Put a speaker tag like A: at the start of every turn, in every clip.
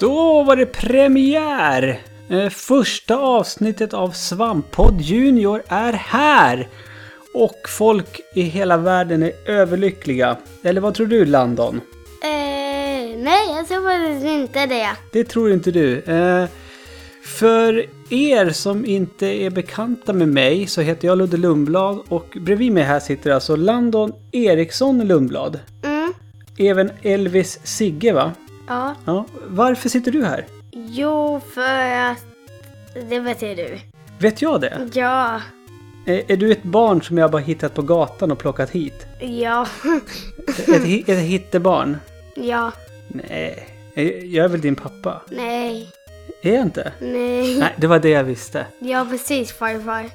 A: Då var det premiär! Eh, Första avsnittet av Svamppodd Junior är här! Och folk i hela världen är överlyckliga. Eller vad tror du Landon?
B: Eh, nej, jag tror faktiskt inte det.
A: Det tror inte du. Eh, för er som inte är bekanta med mig så heter jag Ludde Lundblad och bredvid mig här sitter alltså Landon Eriksson Lundblad.
B: Mm,
A: Även Elvis Sigge va?
B: ja.
A: Ja. Varför sitter du här?
B: Jo, för att... Det vet ju du.
A: Vet jag det?
B: Ja,
A: Eh, Är, är du ett barn som jag bara hittat på gatan och plockat hit?
B: ja,
A: Ett, hi- ett hittebarn?
B: ja,
A: Nej, eh, jag är väl din pappa?
B: nej,
A: Är jag inte?
B: nej.
A: Nej, det var det jag visste.
B: Ja, precis farfar.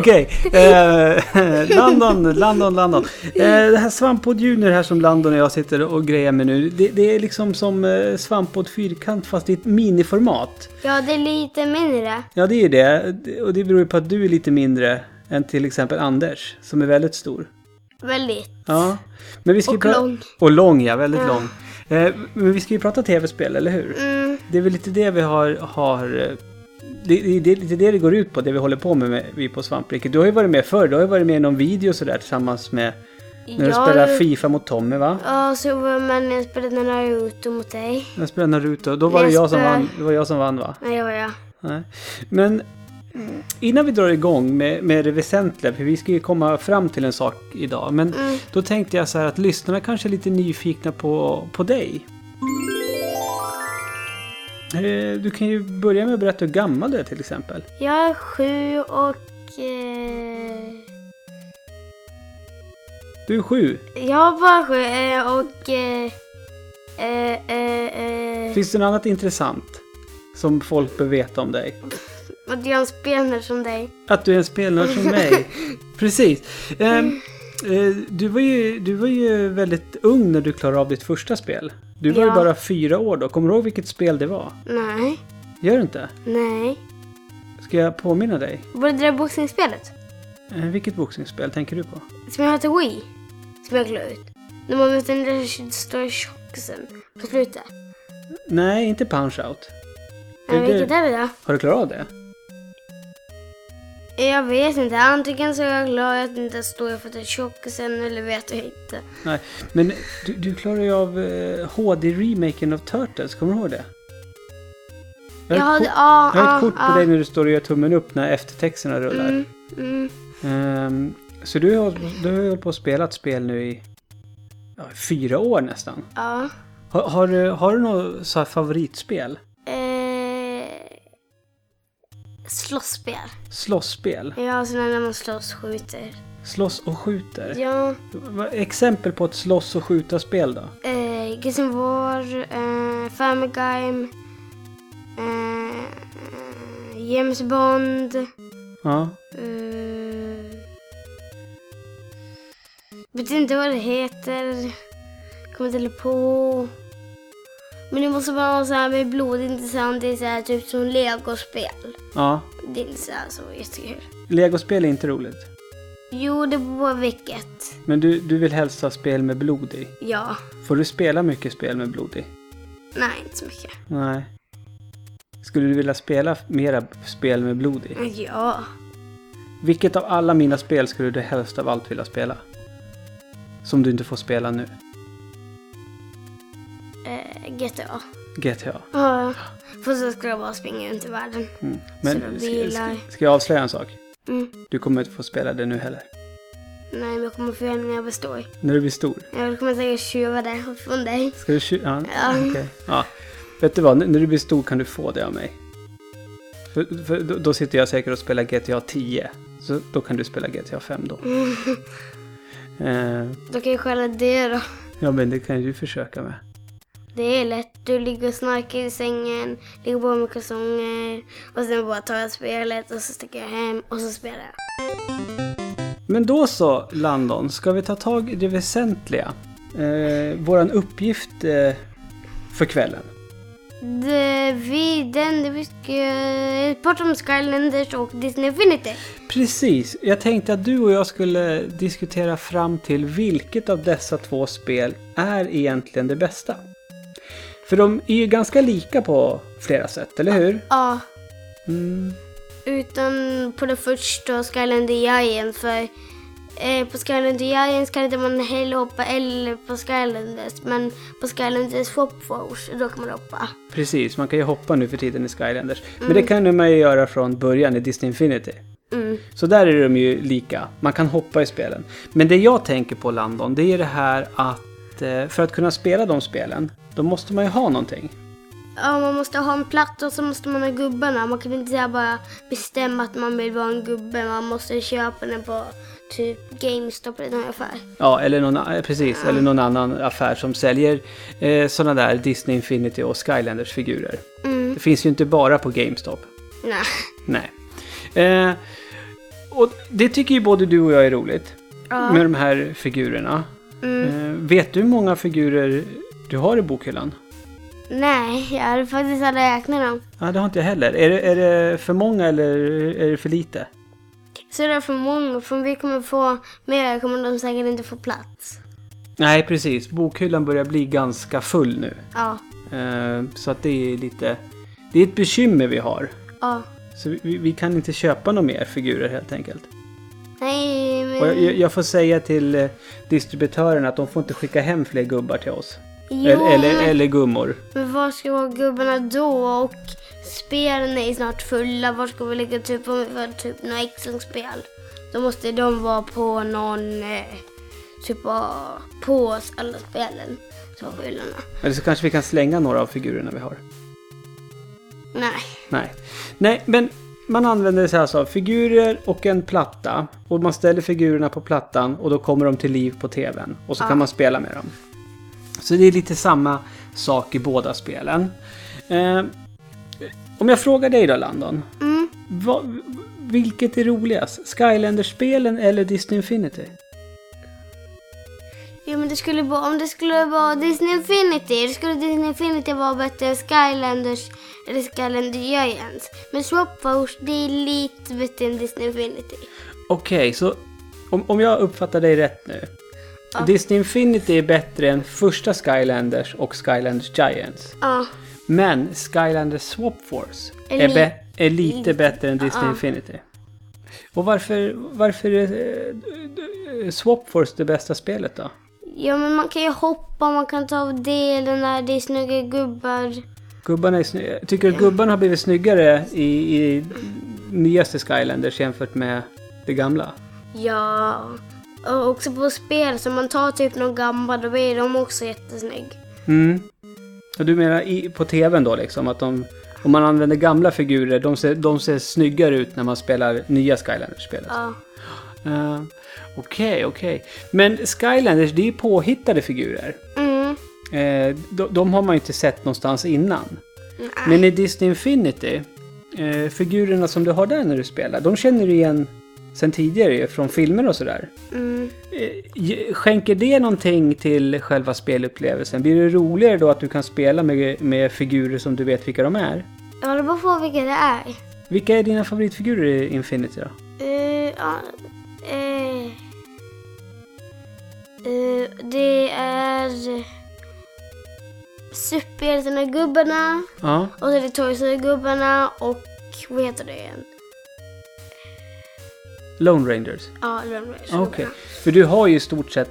A: Okej, eh, Landon, Landon, Landon. Eh, det här Svamppodd Junior här som Landon och jag sitter och grejer med nu. Det, det är liksom som eh, Svamppodd Fyrkant fast i ett miniformat.
B: Ja, det är lite mindre.
A: Ja, det är ju det. Och det beror ju på att du är lite mindre än till exempel Anders som är väldigt stor.
B: Väldigt.
A: Ja. Men vi ska ju
B: Och
A: pra-
B: lång.
A: Och lång, ja. Väldigt
B: Ja.
A: lång. Eh, men vi ska ju prata tv-spel, eller hur?
B: Mm,
A: Det är väl lite det vi har... har eh, det, det, det är lite det det går ut på, det vi håller på med, med vi på Svampriket. Du har ju varit med förr, du har ju varit med i någon video och sådär tillsammans med... När du
B: jag
A: spelade Fifa mot Tommy va?
B: Ja, så var man jag spelade Naruto mot dig.
A: När jag spelade Naruto, då var det
B: Jag
A: jag som
B: spö-
A: vann, det var jag som vann va?
B: Nej, det var jag.
A: Nej. Men innan vi drar igång med, med det väsentliga, för vi ska ju komma fram till en sak idag. Men
B: Mm.
A: då tänkte jag så här att lyssnarna kanske är lite nyfikna på, på dig. Eh, Du kan ju börja med att berätta hur gammal du är till exempel.
B: Jag är sju och... Eh,
A: Du är sju.
B: jag är bara sju eh, och... Eh, eh, eh, eh,
A: Finns det något annat intressant som folk bör veta om dig?
B: Att jag är en spelare som dig.
A: Att du är en spelnörd som mig. Precis. Ehm, eh,
B: Mm.
A: du, var ju, du var ju väldigt ung när du klarade av ditt första spel. Du var ju
B: Ja.
A: bara fyra år då. Kommer du ihåg vilket spel det var?
B: Nej,
A: Gör du inte?
B: nej.
A: Ska jag påminna dig?
B: Var det det där boxningsspelet?
A: Eh, vilket boxningsspel tänker du på?
B: Som jag hade till Wii. Som jag la ut. När man mötte den där stora tjockisen på slutet.
A: Nej, inte Punch-Out.
B: Men
A: Det- det-
B: vilket är det då?
A: Har du klarat av det?
B: Jag vet inte. Antingen så är jag glad att det inte står för att det är tjockisen eller vet jag inte.
A: Nej. Men du, du klarade ju av eh, HD-remaken av Turtles. Kommer du ihåg det? Jag
B: Jag
A: har ett kort-
B: hade... Ja,
A: jag har ett
B: ja,
A: kort på dig när du står och gör tummen upp när eftertexterna rullar.
B: Mm, mm.
A: Ehm, så du har, du har ju hållit på och spelat spel nu i ja, fyra år nästan.
B: Ja.
A: Har, har, du- har du något så här favoritspel?
B: Eh, slåsspel.
A: Slåsspel?
B: Ja, sådana när man slåss skjuter.
A: Slåss och skjuter?
B: Ja.
A: Vad- Exempel på ett slåss och skjuta-spel då?
B: Eh, Gears of War, eh, Family Guy, eh, James Bond,
A: Ja.
B: eh, vet inte vad det heter, kommer inte på. Men det måste vara så här med blod, inte sant? Det är så här typ som legospel.
A: ja.
B: Det är inte så här så jättekul.
A: Legospel är inte roligt.
B: Jo, det beror på vilket.
A: Men du, du vill helst ha spel med blod i.
B: Ja.
A: Får du spela mycket spel med blod i?
B: Nej, inte så mycket.
A: Nej. Skulle du vilja spela mera spel med blod i?
B: Ja.
A: Vilket av alla mina spel skulle du helst av allt vilja spela? Som du inte får spela nu.
B: Eh, GTA.
A: GTA.
B: Ja, fast då skulle jag bara springa runt i världen.
A: Mm.
B: Så
A: Men
B: de
A: ska,
B: bilar.
A: ska, ska jag avslöja en sak?
B: Mm.
A: Du kommer inte få spela det nu heller.
B: Nej, men jag kommer få göra det när jag blir stor.
A: När du blir stor.
B: Jag kommer säkert tjuva det från dig.
A: Ska du tju- ja,
B: Ja.
A: okej. ja. Vet du vad, N- när du blir stor kan du få det av mig. För, för då, då sitter jag säkert och spelar GTA 10. Så då kan du spela GTA 5 då. Eh,
B: Då kan jag stjäla det då.
A: ja men det kan ju du försöka med.
B: Det är lätt. Du ligger och snarkar i sängen, ligger på med kalsonger och sen bara tar jag spelet och så sticker jag hem och så spelar jag.
A: Men då så, Landon, ska vi ta tag i det väsentliga? Eh, våran uppgift eh, för kvällen.
B: The Viden, The Whiskey, Bortom eh, Skylanders och Disney Infinity.
A: Precis. Jag tänkte att du och jag skulle diskutera fram till vilket av dessa två spel är egentligen det bästa. För de är ju ganska lika på flera sätt, eller hur?
B: Ja,
A: Mm.
B: utan på det första Skylander Giant för eh, på Skylander Giant kan inte man heller hoppa eller på Skylanders men på Skylanders Swap Force då kan man hoppa.
A: Precis, man kan ju hoppa nu för tiden i Skylanders. Men det kan man ju göra från början i Disney Infinity.
B: Mm.
A: Så där är de ju lika. Man kan hoppa i spelen. Men det jag tänker på Landon, det är det här att eh, för att kunna spela de spelen, då måste man ju ha någonting.
B: Ja, man måste ha en platt och så måste man ha gubbarna. Man kan inte så här bara bestämma att man vill vara en gubbe. Man måste köpa den på typ GameStop eller ungefär.
A: Ja, eller någon, eh, precis, eller någon annan affär som säljer eh, sådana där Disney Infinity och Skylanders-figurer.
B: Mm,
A: Det finns ju inte bara på GameStop.
B: nej.
A: Nej. Eh, och det tycker ju både du och jag är roligt.
B: Ja. Mm.
A: Med de här figurerna. Eh, vet du hur många figurer du har i bokhyllan?
B: Nej, jag hade faktiskt aldrig räknat dem.
A: Ja, det har inte jag heller. Är det, är det för många eller är det för lite?
B: Så det är för många, för om vi kommer få mer kommer de säkert inte få plats.
A: Nej, precis. Bokhyllan börjar bli ganska full nu.
B: Ja,
A: Eh, så att det är lite... Det är ett bekymmer vi har.
B: ja.
A: Så vi, vi kan inte köpa några mer figurer helt enkelt.
B: Nej, men...
A: Och jag, jag- jag får säga till eh, distributören att de får inte skicka hem fler gubbar till oss.
B: jo,
A: Eller, eller,
B: men,
A: eller gummor.
B: men var ska vara gubbarna då? Och spelen är snart fulla. Var ska vi lägga typ om vi får typ några X-spel? Då måste de vara på någon eh, typ av pås, alla spelen. Så på hyllorna.
A: Eller så kanske vi kan slänga några av figurerna vi har.
B: Nej.
A: Nej. Nej, men man använder sig alltså av figurer och en platta. Och man ställer figurerna på plattan och då kommer de till liv på tvn. Och så kan man spela med dem. Så det är lite samma sak i båda spelen. Eh, om jag frågar dig då, Landon.
B: Mm.
A: Vad, vilket är roligast? Skylanders-spelen eller Disney Infinity?
B: Jo men det skulle vara, om det skulle vara Disney Infinity, då skulle Disney Infinity vara bättre än Skylanders eller Skylander Giants. Men Swap Force, det är lite bättre än Disney Infinity.
A: Okej, så om, om jag uppfattar dig rätt nu. Disney Infinity är bättre än första Skylanders och Skylanders Giants.
B: Ja,
A: Men Skylanders Swap Force
B: Är
A: är,
B: li-
A: bä- är lite bättre än Disney Infinity. Och varför, varför är eh, Swap Force det bästa spelet då?
B: ja men man kan ju hoppa, man kan ta av delen där, det är snygga gubbar.
A: Gubbarna är sny- Tycker du att gubbarna har blivit snyggare i, i nyaste Skylanders jämfört med det gamla?
B: Ja, och också på spel, så man tar typ någon gammal, då blir de också jättesnygg.
A: Mm. Och du menar i, på tvn då liksom att de, om man använder gamla figurer, de ser, de ser snyggare ut när man spelar nya Skylanders-spelet?
B: Ja,
A: Eh, Okej, okej. Men Skylanders, det är ju påhittade figurer.
B: mm,
A: Eh, de, de har man ju inte sett någonstans innan.
B: Mm.
A: Men i Disney Infinity, eh, figurerna som du har där när du spelar, de känner du igen sen tidigare ju, från filmer och sådär.
B: mm.
A: Eh, ge- Skänker det någonting till själva spelupplevelsen? Blir det roligare då att du kan spela med, med figurer som du vet vilka de är?
B: Ja, det beror på vilka det är.
A: Vilka är dina favoritfigurer i Infinity då?
B: Eh, ja, eh, eh, det är superhjältarna-gubbarna
A: Ja,
B: och så är det Toy Story-gubbarna och vad heter det igen?
A: Lone Rangers.
B: Ja, Lone Rangers
A: Ah, Okej, för du har ju i stort sett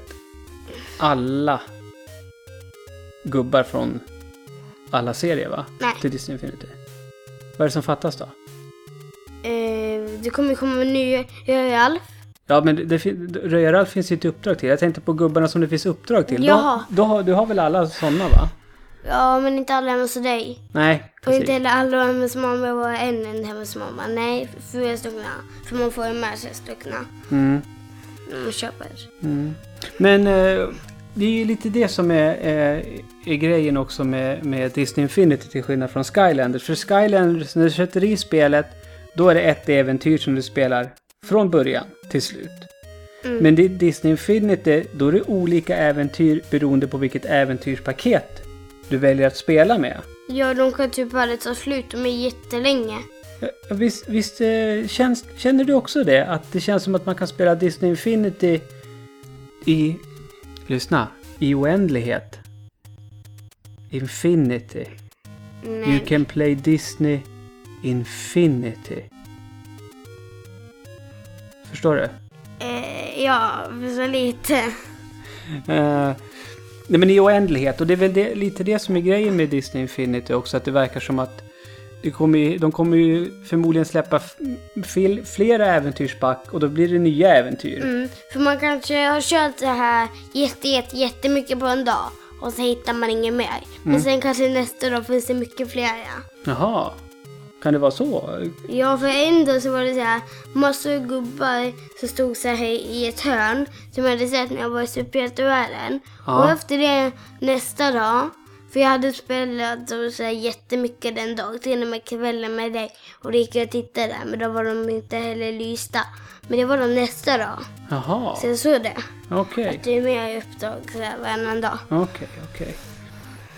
A: alla gubbar från alla serier va?
B: Nej.
A: Till Disney Infinity. Vad är det som fattas då?
B: Eh, det kommer ju komma nya Röjalf.
A: Ja men det- det fin- Röjaralf finns ju ett uppdrag till. Jag tänkte på gubbarna som det finns uppdrag till.
B: Jaha.
A: Då, då, har- du har väl alla sådana va?
B: Ja, men inte alla hemma hos dig.
A: Nej,
B: Och inte
A: precis.
B: heller alla hemma hos mamma och en en hemma hos mamma. Nej, fyra stycken. För man får ju med sig stycken
A: Mm.
B: när man köper.
A: Men eh, det är ju lite det som är, eh, är grejen också med, med Disney Infinity till skillnad från Skylanders. För Skylanders, när du sätter i spelet, då är det ett äventyr som du spelar från början till slut.
B: Mm.
A: Men i Disney Infinity, då är det olika äventyr beroende på vilket äventyrspaket du väljer att spela med.
B: Ja, de kan typ aldrig ta slut. De är jättelänge.
A: Ja, Visst, visst eh, känns, känner du också det? Att det känns som att man kan spela Disney Infinity i... Lyssna. I oändlighet. Infinity. You
B: Nej.
A: can play Disney Infinity. Förstår du?
B: Eh, ja, så lite.
A: Eh, nej men i oändlighet. Och det är väl det, lite det som är grejen med Disney Infinity också. Att det verkar som att det kommer, ju- de kommer ju förmodligen släppa f- fil, flera äventyrsback och då blir det nya äventyr.
B: Mm, för man kanske har kört det här jätte, jätte, jättemycket på en dag och så hittar man inget mer.
A: Mm.
B: Men sen kanske nästa dag finns det mycket flera.
A: Jaha. Kan det vara så?
B: Ja, för en dag så var det så här massor av gubbar som stod så här i ett hörn som jag hade sett när jag var i superhjältevärlden.
A: Ja.
B: Och efter det nästa dag, för jag hade spelat och så här jättemycket den dagen, till och med kvällen med dig. Och då gick jag och tittade, men då var de inte heller lysta. Men det var de nästa dag.
A: Jaha.
B: Så jag såg det.
A: Okej.
B: Att du är med i uppdrag så här varannan dag.
A: Okej, okej.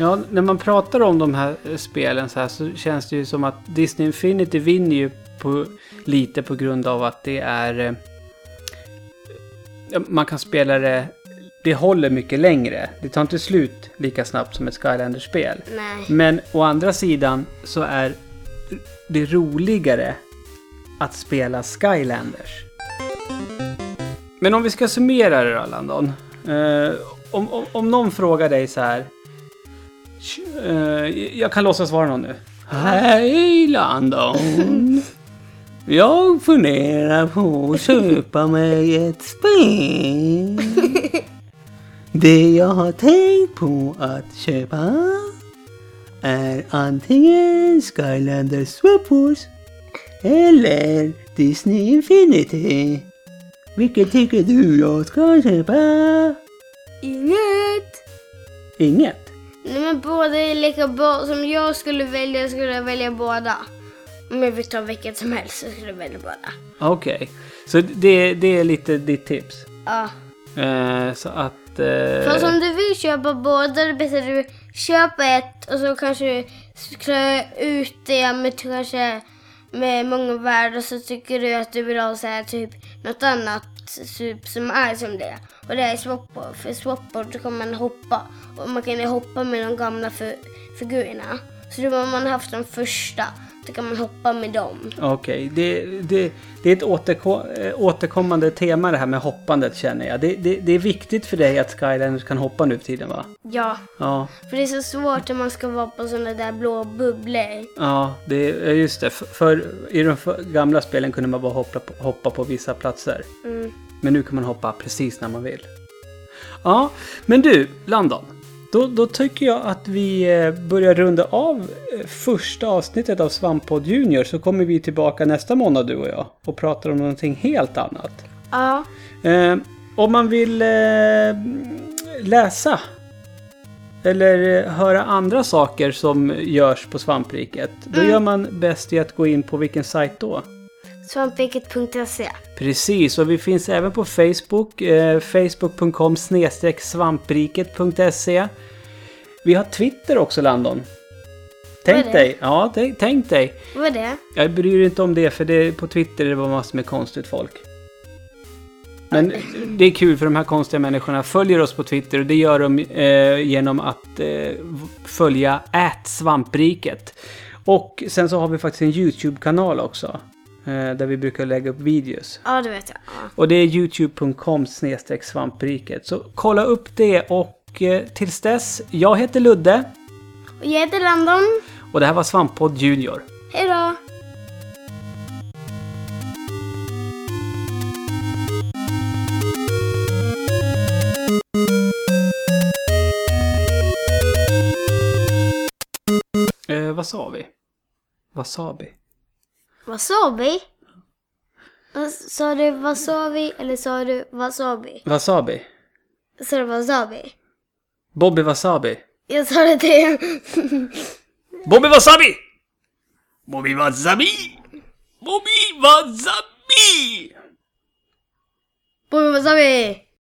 A: Ja, när man pratar om de här eh, spelen så här så känns det ju som att Disney Infinity vinner ju på, lite på grund av att det är... eh, ja, Man kan spela det... Det håller mycket längre. Det tar inte slut lika snabbt som ett Skylanders-spel.
B: Nej.
A: Men å andra sidan så är det roligare att spela Skylanders. Men om vi ska summera det då, Landon. Eh, om, om, om någon frågar dig så här. "Tj- eh, jag kan låtsas vara någon nu. Hej Landon! Jag funderar på att köpa mig ett spel. Det jag har tänkt på att köpa är antingen Skylanders Swapwars eller Disney Infinity. Vilket tycker du jag ska köpa?
B: Inget!
A: Inget.
B: Nej men båda är lika bra. Som jag skulle välja skulle jag välja båda. Om jag fick ta vilket som helst så skulle jag välja båda.
A: Okej, så det, det är lite ditt tips.
B: Ja.
A: Eh, så att...
B: Fast
A: Eh,
B: om du vill köpa båda då bästa du köpa ett och så kanske du klär ut det med kanske med många värden så tycker du att du vill ha så här typ något annat typ som är som det. Och det är swapboard. För swapboard så kan man hoppa och man kan ju hoppa med de gamla fi- figurerna. Så då har man haft de första, då kan man hoppa med dem.
A: Okej, det, det, det är ett återko- eh, återkommande tema det här med hoppandet känner jag. Det, det, det är viktigt för dig att Skylanders kan hoppa nu för tiden va?
B: Ja,
A: Ja.
B: för det är så svårt när man ska vara på sådana där blå bubblor.
A: Ja, det, ja, just det. F- För, I de för, gamla spelen kunde man bara hoppa på, hoppa på vissa platser.
B: Mm.
A: Men nu kan man hoppa precis när man vill. Ja, men du, Landon. Då, då tycker jag att vi eh, börjar runda av eh, första avsnittet av Svamppodd Junior så kommer vi tillbaka nästa månad du och jag och pratar om någonting helt annat.
B: Ja.
A: Eh, om man vill eh, läsa eller eh, höra andra saker som görs på svampriket, då
B: Mm.
A: gör man bäst i att gå in på vilken sajt då?
B: Svampriket.se
A: Precis, och vi finns även på Facebook, eh, facebook.com svampriket.se. Vi har Twitter också, Landon.
B: Vad
A: Tänk
B: är det?
A: dig, ja, tänk, tänk dig.
B: Vad var det?
A: Jag bryr mig inte om det, för det, på Twitter är det bara massor med konstigt folk. Men det är kul för de här konstiga människorna följer oss på Twitter och det gör de eh, genom att eh, v- följa ät svampriket. Och sen så har vi faktiskt en YouTube-kanal också. Eh, där vi brukar lägga upp videos.
B: Ja, det vet jag. Ja.
A: Och det är youtube.com snedstreck svampriket. Så kolla upp det och eh, tills dess, jag heter Ludde
B: Och jag heter Landon.
A: och det här var Svamppodd Junior.
B: Hej då!
A: Eh, vad sa vi? Wasabi.
B: Wasabi? Vad Sa du wasabi eller sa du wasabi?
A: Wasabi.
B: Sa du wasabi?
A: Bobby Wasabi.
B: Jag sa det till en.
A: Bobby Wasabi! Bobby Wasabi! Bobby Wasabi!
B: Bobby wasabi!